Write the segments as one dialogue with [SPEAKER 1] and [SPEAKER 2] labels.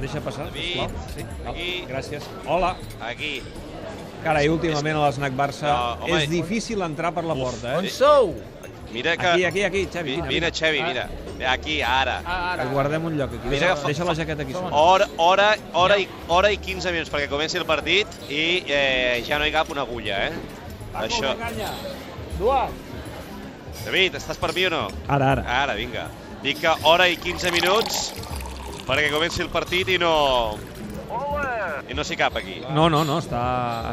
[SPEAKER 1] deixa passar,
[SPEAKER 2] David,
[SPEAKER 1] sisplau. Sí, val,
[SPEAKER 2] aquí.
[SPEAKER 1] gràcies. Hola.
[SPEAKER 2] Aquí.
[SPEAKER 1] Carai, últimament a l'Snac Barça
[SPEAKER 2] No, home,
[SPEAKER 1] és difícil entrar per la porta,
[SPEAKER 2] on
[SPEAKER 1] eh?
[SPEAKER 3] Sou!
[SPEAKER 2] Mira que...
[SPEAKER 1] Aquí, aquí, aquí, Xavi. Ah.
[SPEAKER 2] Vine,
[SPEAKER 1] Vine,
[SPEAKER 2] vine, Xevi, mira. Aquí, ara.
[SPEAKER 3] Ara,
[SPEAKER 1] Et guardem un lloc aquí.
[SPEAKER 2] Mira
[SPEAKER 1] Deixa,
[SPEAKER 2] que fa-
[SPEAKER 1] deixa la jaqueta aquí. sobre.
[SPEAKER 2] Hora, hora, hora, i, hora i 15 minuts perquè comenci el partit i eh, ja no hi cap una agulla, eh? Això.
[SPEAKER 3] Duat!
[SPEAKER 2] David, estàs per mi o no?
[SPEAKER 1] Ara, ara.
[SPEAKER 2] Ara, vinga. Dic que hora i 15 minuts perquè comenci el partit i no... I no s'hi cap aquí.
[SPEAKER 1] No, no, no, està,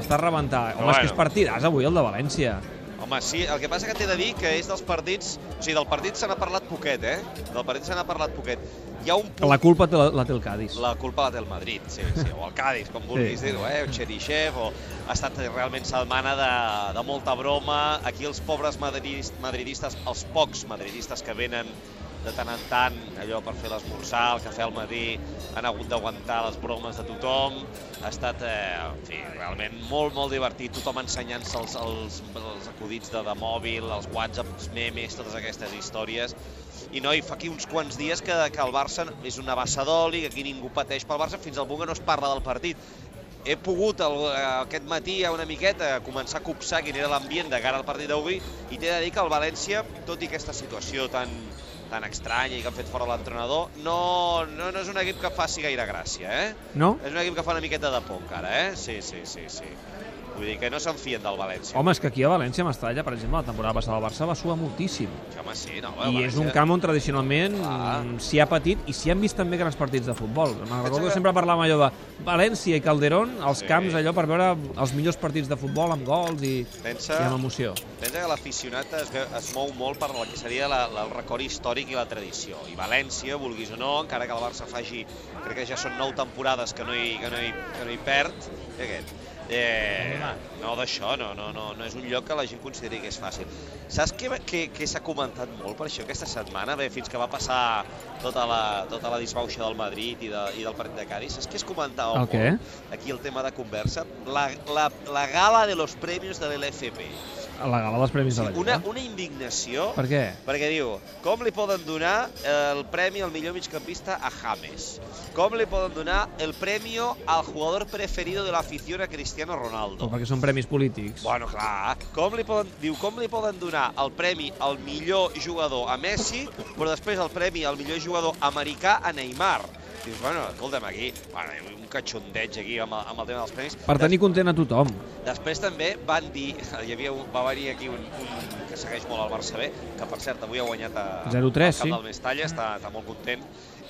[SPEAKER 1] està a rebentar.
[SPEAKER 2] Però
[SPEAKER 1] Home, és que
[SPEAKER 2] bueno.
[SPEAKER 1] és partidàs avui, el de València.
[SPEAKER 2] Home, sí, el que passa que t'he de dir que és dels partits... O sigui, del partit se n'ha parlat poquet, eh? Del partit se n'ha parlat poquet. Hi ha un punt...
[SPEAKER 1] La culpa te la, la té el Cádiz.
[SPEAKER 2] La culpa la té el Madrid, sí, sí, o el Cádiz, com vulguis dir-ho, eh? o Cherichev, o ha estat realment setmana de, de molta broma. Aquí els pobres madridis, madridistes, els pocs madridistes que venen de tant en tant, allò per fer l'esmorzar, el cafè al matí, han hagut d'aguantar les bromes de tothom. Ha estat, eh, en fi, realment molt, molt divertit, tothom ensenyant-se els, els, els acudits de, de mòbil, els whatsapps, els memes, totes aquestes històries. I noi, fa aquí uns quants dies que, que el Barça és una bassa d'oli, que aquí ningú pateix pel Barça, fins al Bunga no es parla del partit. He pogut el, eh, aquest matí una miqueta començar a copsar quin era l'ambient de cara al partit d'avui i t'he de dir que el València, tot i aquesta situació tan, tan estranya i que han fet fora l'entrenador, no, no, no és un equip que faci gaire gràcia, eh?
[SPEAKER 1] No?
[SPEAKER 2] És un equip que fa una miqueta de por encara, eh? Sí, sí, sí, sí. Vull dir que no se'n fien del València.
[SPEAKER 1] Home, és que aquí a València, a Mestalla, per exemple, la temporada passada el Barça va suar moltíssim.
[SPEAKER 2] Home sí, no, el
[SPEAKER 1] I és un
[SPEAKER 2] València-
[SPEAKER 1] camp on tradicionalment
[SPEAKER 2] Clar.
[SPEAKER 1] mm, s'hi ha patit i s'hi han vist també grans partits de futbol. Me'n recordo
[SPEAKER 2] que-
[SPEAKER 1] que sempre parlàvem allò de València i Calderón, els
[SPEAKER 2] Sí.
[SPEAKER 1] camps allò per veure els millors partits de futbol amb gols i,
[SPEAKER 2] Pensa,
[SPEAKER 1] i amb emoció.
[SPEAKER 2] Pensa que l'aficionat es, veu- es mou molt per la que seria la, la, el record històric i la tradició. I València, vulguis o no, encara que el Barça faci, crec que ja són nou temporades que no hi, que no hi, que no hi perd, i aquest. Eh, no d'això, no, no, no, no és un lloc que la gent consideri que és fàcil. Saps què, què, què s'ha comentat molt per això aquesta setmana? Bé, fins que va passar tota la, tota la disbauxa del Madrid i, de, i del partit de Cádiz, saps què es comentava
[SPEAKER 1] El
[SPEAKER 2] molt?
[SPEAKER 1] què?
[SPEAKER 2] Aquí el tema de conversa, la, la, la gala de los premios de l'LFP.
[SPEAKER 1] A la gala dels Premis de la
[SPEAKER 2] Una,
[SPEAKER 1] Lliga. eh?
[SPEAKER 2] una indignació
[SPEAKER 1] Per què?
[SPEAKER 2] perquè diu, com li poden donar el premi al millor migcampista a James? Com li poden donar el premi al jugador preferido de la afición a Cristiano
[SPEAKER 1] O
[SPEAKER 2] Ronaldo?
[SPEAKER 1] perquè són premis polítics.
[SPEAKER 2] Bueno, clar, com li poden, diu, com li poden donar el premi al millor jugador a Messi, però després el premi al millor jugador americà a Neymar? Dius, bueno, escolta'm, aquí, bueno, un catxondeig aquí amb el, amb el tema dels premis.
[SPEAKER 1] Per tenir content a tothom.
[SPEAKER 2] Després també van dir, hi havia un, va venir aquí un, un que segueix molt al Barça B, que per cert avui ha guanyat a,
[SPEAKER 1] 0-3,
[SPEAKER 2] al
[SPEAKER 1] sí.
[SPEAKER 2] camp del Mestalla, està, està molt content,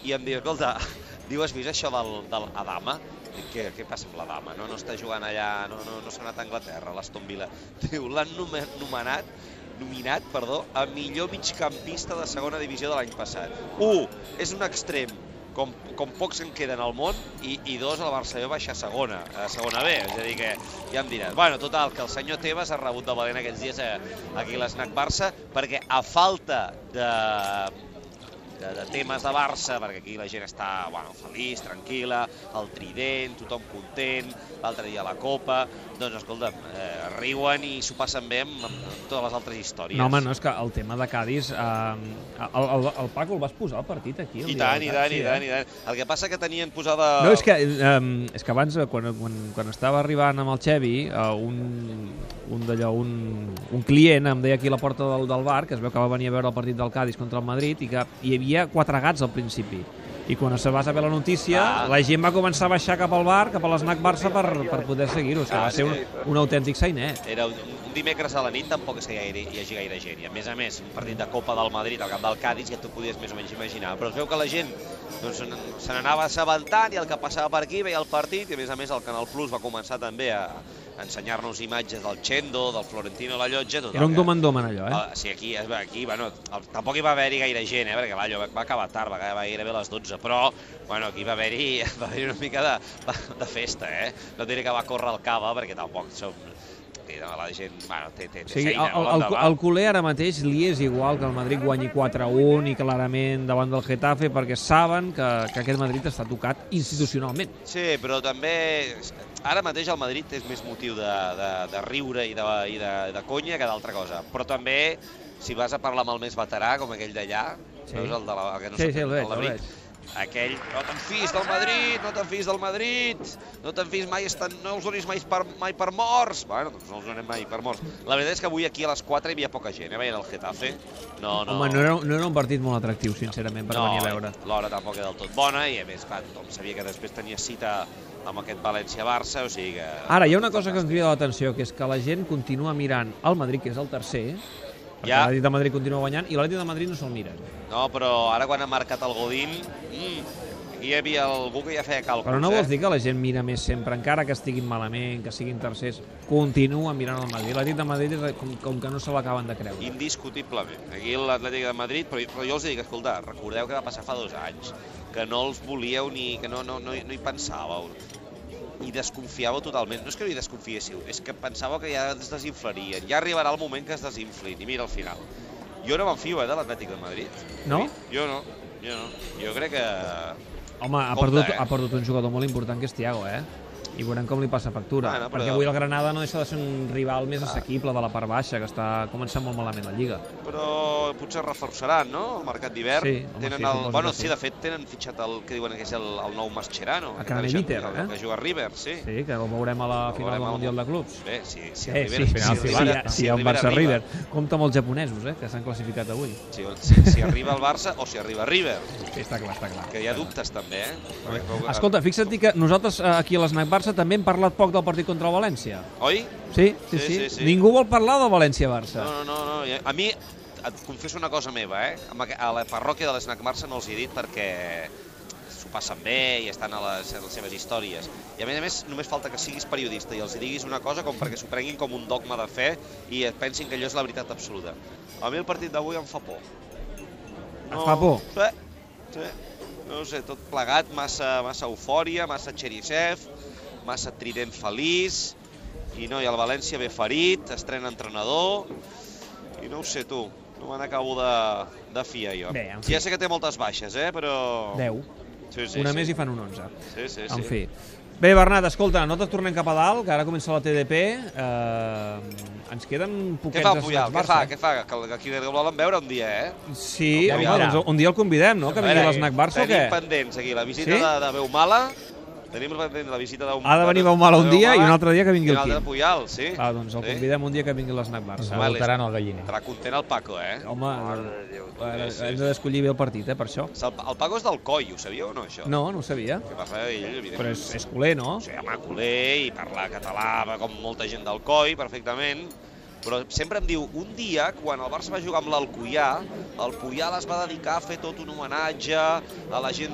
[SPEAKER 2] i em diu, escolta, diu, has vist això del, del Adama? Dic, Què, què passa amb l'Adama? No, no està jugant allà, no, no, no s'ha anat a Anglaterra, a l'Aston Villa. Diu, l'han nome- nomenat nominat, perdó, a millor migcampista de segona divisió de l'any passat. 1. És un extrem com, com pocs en queden al món i, i dos, el Barça B baixa a segona, a segona B, és a dir que ja em diràs. Bueno, total, que el senyor Tebas ha rebut de valent aquests dies eh, aquí a l'Snac Barça perquè a falta de, de, de temes de Barça, perquè aquí la gent està bueno, feliç, tranquil·la, el trident, tothom content, l'altre dia la Copa, doncs escolta'm, eh, riuen i s'ho passen bé amb, amb, amb totes les altres històries.
[SPEAKER 1] No, home, no, és que el tema de Cádiz... Eh, el, el, el Paco el vas posar al partit aquí? el
[SPEAKER 2] I
[SPEAKER 1] dia
[SPEAKER 2] tant,
[SPEAKER 1] del
[SPEAKER 2] i tant, i
[SPEAKER 1] Cádiz, eh?
[SPEAKER 2] tant, i tant. El que passa que tenien posada...
[SPEAKER 1] No, és que, um, és que abans, eh, quan, quan, quan estava arribant amb el Xevi, uh, un, un, d'allò, un, un client em deia aquí a la porta del, del bar, que es veu que va venir a veure el partit del Cádiz contra el Madrid, i que hi havia quatre gats al principi. I quan se va saber la notícia,
[SPEAKER 2] Ah.
[SPEAKER 1] ah. la gent va començar a baixar cap al bar, cap a l'esnac Barça, per, per poder seguir-ho. És que
[SPEAKER 2] Ah,
[SPEAKER 1] va ser un,
[SPEAKER 2] sí.
[SPEAKER 1] un autèntic sainet.
[SPEAKER 2] Era un, un dimecres a la nit, tampoc és que hi hagi, hi hagi gaire gent. I a més a més, un partit de Copa del Madrid al camp del Cádiz ja t'ho podies més o menys imaginar. Però es veu que la gent doncs, n- se n'anava assabentant i el que passava per aquí veia el partit i a més a més el Canal Plus va començar també a a ensenyar-nos imatges del Chendo, del Florentino La Llotja... Tot el
[SPEAKER 1] Era un
[SPEAKER 2] que-
[SPEAKER 1] dom-en-dom, allò, eh?
[SPEAKER 2] Ah, sí, aquí, es va- aquí bueno, el, tampoc hi va haver-hi gaire gent, eh, perquè l'Allo va, va acabar tard, va acabar gairebé a les 12, però bueno, aquí va haver-hi va haver una mica de, de, festa, eh? No diré que va córrer el cava, perquè tampoc som... eh, no, La gent, bueno, té, té, té
[SPEAKER 1] O sigui, el,
[SPEAKER 2] feina, no?
[SPEAKER 1] el, el,
[SPEAKER 2] L'endemà.
[SPEAKER 1] el culer ara mateix li és igual que el Madrid guanyi 4-1 i clarament davant del Getafe perquè saben que, que aquest Madrid està tocat institucionalment.
[SPEAKER 2] Sí, però també ara mateix el Madrid és més motiu de, de, de riure i de, i de, de conya que d'altra cosa. Però també, si vas a parlar amb el més veterà, com aquell d'allà,
[SPEAKER 1] Sí.
[SPEAKER 2] sí. veus el, de la, el que no
[SPEAKER 1] Sí,
[SPEAKER 2] sap-
[SPEAKER 1] sí, el veig, el
[SPEAKER 2] l'Abric,
[SPEAKER 1] veig.
[SPEAKER 2] aquell, no te'n fis del Madrid, no te'n fis del Madrid, no te'n fis mai, estan, no us donis mai per, mai per morts. Bueno, doncs no us donem mai per morts. La veritat és que avui aquí a les 4 hi havia poca gent, eh, veient el Getafe. No, no.
[SPEAKER 1] Home, no era, no era un partit molt atractiu, sincerament, per
[SPEAKER 2] no, eh?
[SPEAKER 1] venir a veure.
[SPEAKER 2] l'hora tampoc era del tot bona i, a més, clar, tothom sabia que després tenia cita amb aquest València-Barça, o sigui que...
[SPEAKER 1] Ara, hi ha una cosa que em crida l'atenció, que és que la gent continua mirant el Madrid, que és el tercer, perquè
[SPEAKER 2] Ja.
[SPEAKER 1] l'Atlètic de Madrid continua guanyant, i l'Atlètic de Madrid no se'l miren.
[SPEAKER 2] No, però ara quan ha marcat el Godín... Mm, aquí hi havia algú que ja feia càlculs,
[SPEAKER 1] Però no vols
[SPEAKER 2] eh?
[SPEAKER 1] dir que la gent mira més sempre, encara que estiguin malament, que siguin tercers, continuen mirant el Madrid. L'Atlètic de Madrid és com, com que no se l'acaben de creure.
[SPEAKER 2] Indiscutiblement. Aquí l'Atlètic de Madrid, però, però jo els dic, escolta, recordeu que va passar fa dos anys, que no els volíeu ni... que no, no, no, hi- no hi pensàveu i desconfiàveu totalment. No és que no hi desconfiéssiu, és que pensàveu que ja es desinflarien. Ja arribarà el moment que es desinflin. I mira, al final. Jo no m'enfio, eh, de l'Atlètic de Madrid.
[SPEAKER 1] No?
[SPEAKER 2] Jo no. Jo no. Jo crec que
[SPEAKER 1] Home, ha
[SPEAKER 2] Compte,
[SPEAKER 1] perdut,
[SPEAKER 2] eh?
[SPEAKER 1] ha perdut un jugador molt important, que és Thiago, eh? I veurem com li passa factura.
[SPEAKER 2] Bueno, però-
[SPEAKER 1] Perquè avui el Granada no deixa de ser un rival més assequible de la part baixa, que està començant molt malament la Lliga.
[SPEAKER 2] però potser reforçaran, no?, el mercat d'hivern.
[SPEAKER 1] Sí, home,
[SPEAKER 2] tenen
[SPEAKER 1] sí,
[SPEAKER 2] el...
[SPEAKER 1] suposo
[SPEAKER 2] Bueno,
[SPEAKER 1] que sí.
[SPEAKER 2] sí, de fet, tenen fitxat el que diuen que és el, el nou Mascherano.
[SPEAKER 1] A
[SPEAKER 2] que ha deixat-
[SPEAKER 1] Craneviter,
[SPEAKER 2] el,
[SPEAKER 1] eh?
[SPEAKER 2] Que juga a River, sí. sí.
[SPEAKER 1] Sí, que el veurem a la
[SPEAKER 2] El
[SPEAKER 1] final
[SPEAKER 2] veurem
[SPEAKER 1] del
[SPEAKER 2] al
[SPEAKER 1] Mundial de Clubs.
[SPEAKER 2] Bé, si, si
[SPEAKER 1] Eh,
[SPEAKER 2] arriben...
[SPEAKER 1] sí, sí, sí, sí, sí,
[SPEAKER 2] arriben-
[SPEAKER 1] sí, el Barça
[SPEAKER 2] arriben
[SPEAKER 1] River. Compte amb els japonesos, eh, que s'han classificat avui.
[SPEAKER 2] Si, si, si arriba el Barça o si arriba River,
[SPEAKER 1] Sí, està clar, està clar.
[SPEAKER 2] que hi ha dubtes també, eh? Perquè-
[SPEAKER 1] Escolta, fixa't que nosaltres eh, aquí a l'Snac Barça també hem parlat poc del partit contra el València.
[SPEAKER 2] Oi?
[SPEAKER 1] Sí, sí, sí.
[SPEAKER 2] Sí, sí, sí.
[SPEAKER 1] Ningú vol parlar del València-Barça.
[SPEAKER 2] No, no, no, no. A mi, et confesso una cosa meva, eh? Amb aqu- A la parròquia de l'Snac Marsa no els hi he dit perquè s'ho passen bé i estan a les, a les seves històries. I a més a més, només falta que siguis periodista i els hi diguis una cosa com perquè s'ho prenguin com un dogma de fe i et pensin que allò és la veritat absoluta. A mi el partit d'avui em fa por.
[SPEAKER 1] Et fa por?
[SPEAKER 2] Sí, sí. No ho sé, tot plegat, massa, massa eufòria, massa Cherisev, massa trident feliç, i no, i el València ve ferit, estrena entrenador, i no ho sé, tu, no me n'acabo de, de fiar, jo.
[SPEAKER 1] Bé, en fi.
[SPEAKER 2] Ja sé que té moltes baixes, eh, però...
[SPEAKER 1] 10.
[SPEAKER 2] Sí, sí,
[SPEAKER 1] Una
[SPEAKER 2] sí.
[SPEAKER 1] més i fan un 11.
[SPEAKER 2] Sí, sí, sí.
[SPEAKER 1] En fi. Bé, Bernat, escolta, nosaltres tornem cap a dalt, que ara comença la TDP. Eh, ens queden
[SPEAKER 2] Què
[SPEAKER 1] poquets
[SPEAKER 2] fa el Puyal? Què fa?
[SPEAKER 1] Barça.
[SPEAKER 2] Què fa? Que, que aquí el volen veure un dia, eh?
[SPEAKER 1] Sí,
[SPEAKER 2] El
[SPEAKER 1] home,
[SPEAKER 2] Puyal.
[SPEAKER 1] doncs un dia el convidem, no?, que
[SPEAKER 2] A
[SPEAKER 1] vingui a
[SPEAKER 2] veure,
[SPEAKER 1] l'Snac Barça o
[SPEAKER 2] tenim
[SPEAKER 1] què?
[SPEAKER 2] pendents aquí la visita
[SPEAKER 1] Sí?
[SPEAKER 2] de, de Beumala, tenim pendent la visita de Beumala.
[SPEAKER 1] Ha de venir Beumala un dia i un altre dia que vingui
[SPEAKER 2] I
[SPEAKER 1] el
[SPEAKER 2] un altre
[SPEAKER 1] Quim.
[SPEAKER 2] Puyal, sí.
[SPEAKER 1] Ah, doncs el
[SPEAKER 2] Sí.
[SPEAKER 1] convidem un dia que vingui a l'Snac Barça.
[SPEAKER 2] Vale.
[SPEAKER 3] Saltaran el galliner.
[SPEAKER 2] Estarà content el Paco, eh?
[SPEAKER 1] Home,
[SPEAKER 2] Mare de Déu,
[SPEAKER 1] ara
[SPEAKER 2] sí, sí.
[SPEAKER 1] hem de d'escollir bé el partit, eh, per això.
[SPEAKER 2] El, el Paco és del coi, ho sabíeu o no, això?
[SPEAKER 1] No, no ho sabia.
[SPEAKER 2] Que passa ell, evidentment.
[SPEAKER 1] Però és, és culer, no?
[SPEAKER 2] O sigui, home, culer i parlar català, va, com molta gent del coi, perfectament. Però sempre em diu, un dia, quan el Barça va jugar amb l'Alcoià, el Puyal es va dedicar a fer tot un homenatge a la gent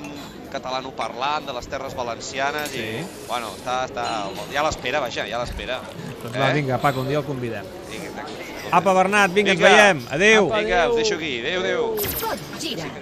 [SPEAKER 2] catalanoparlant de les Terres Valencianes
[SPEAKER 1] Sí.
[SPEAKER 2] i, bueno, està, està... ja l'espera, vaja, ja l'espera.
[SPEAKER 1] Doncs va, vinga, Paco, un dia el convidem.
[SPEAKER 2] Eh? Vinga,
[SPEAKER 1] Apa, Bernat, vinga, ens
[SPEAKER 2] Vinga.
[SPEAKER 1] veiem. Adéu.
[SPEAKER 2] Vinga, us deixo aquí. Adéu, adéu.
[SPEAKER 4] Tot gira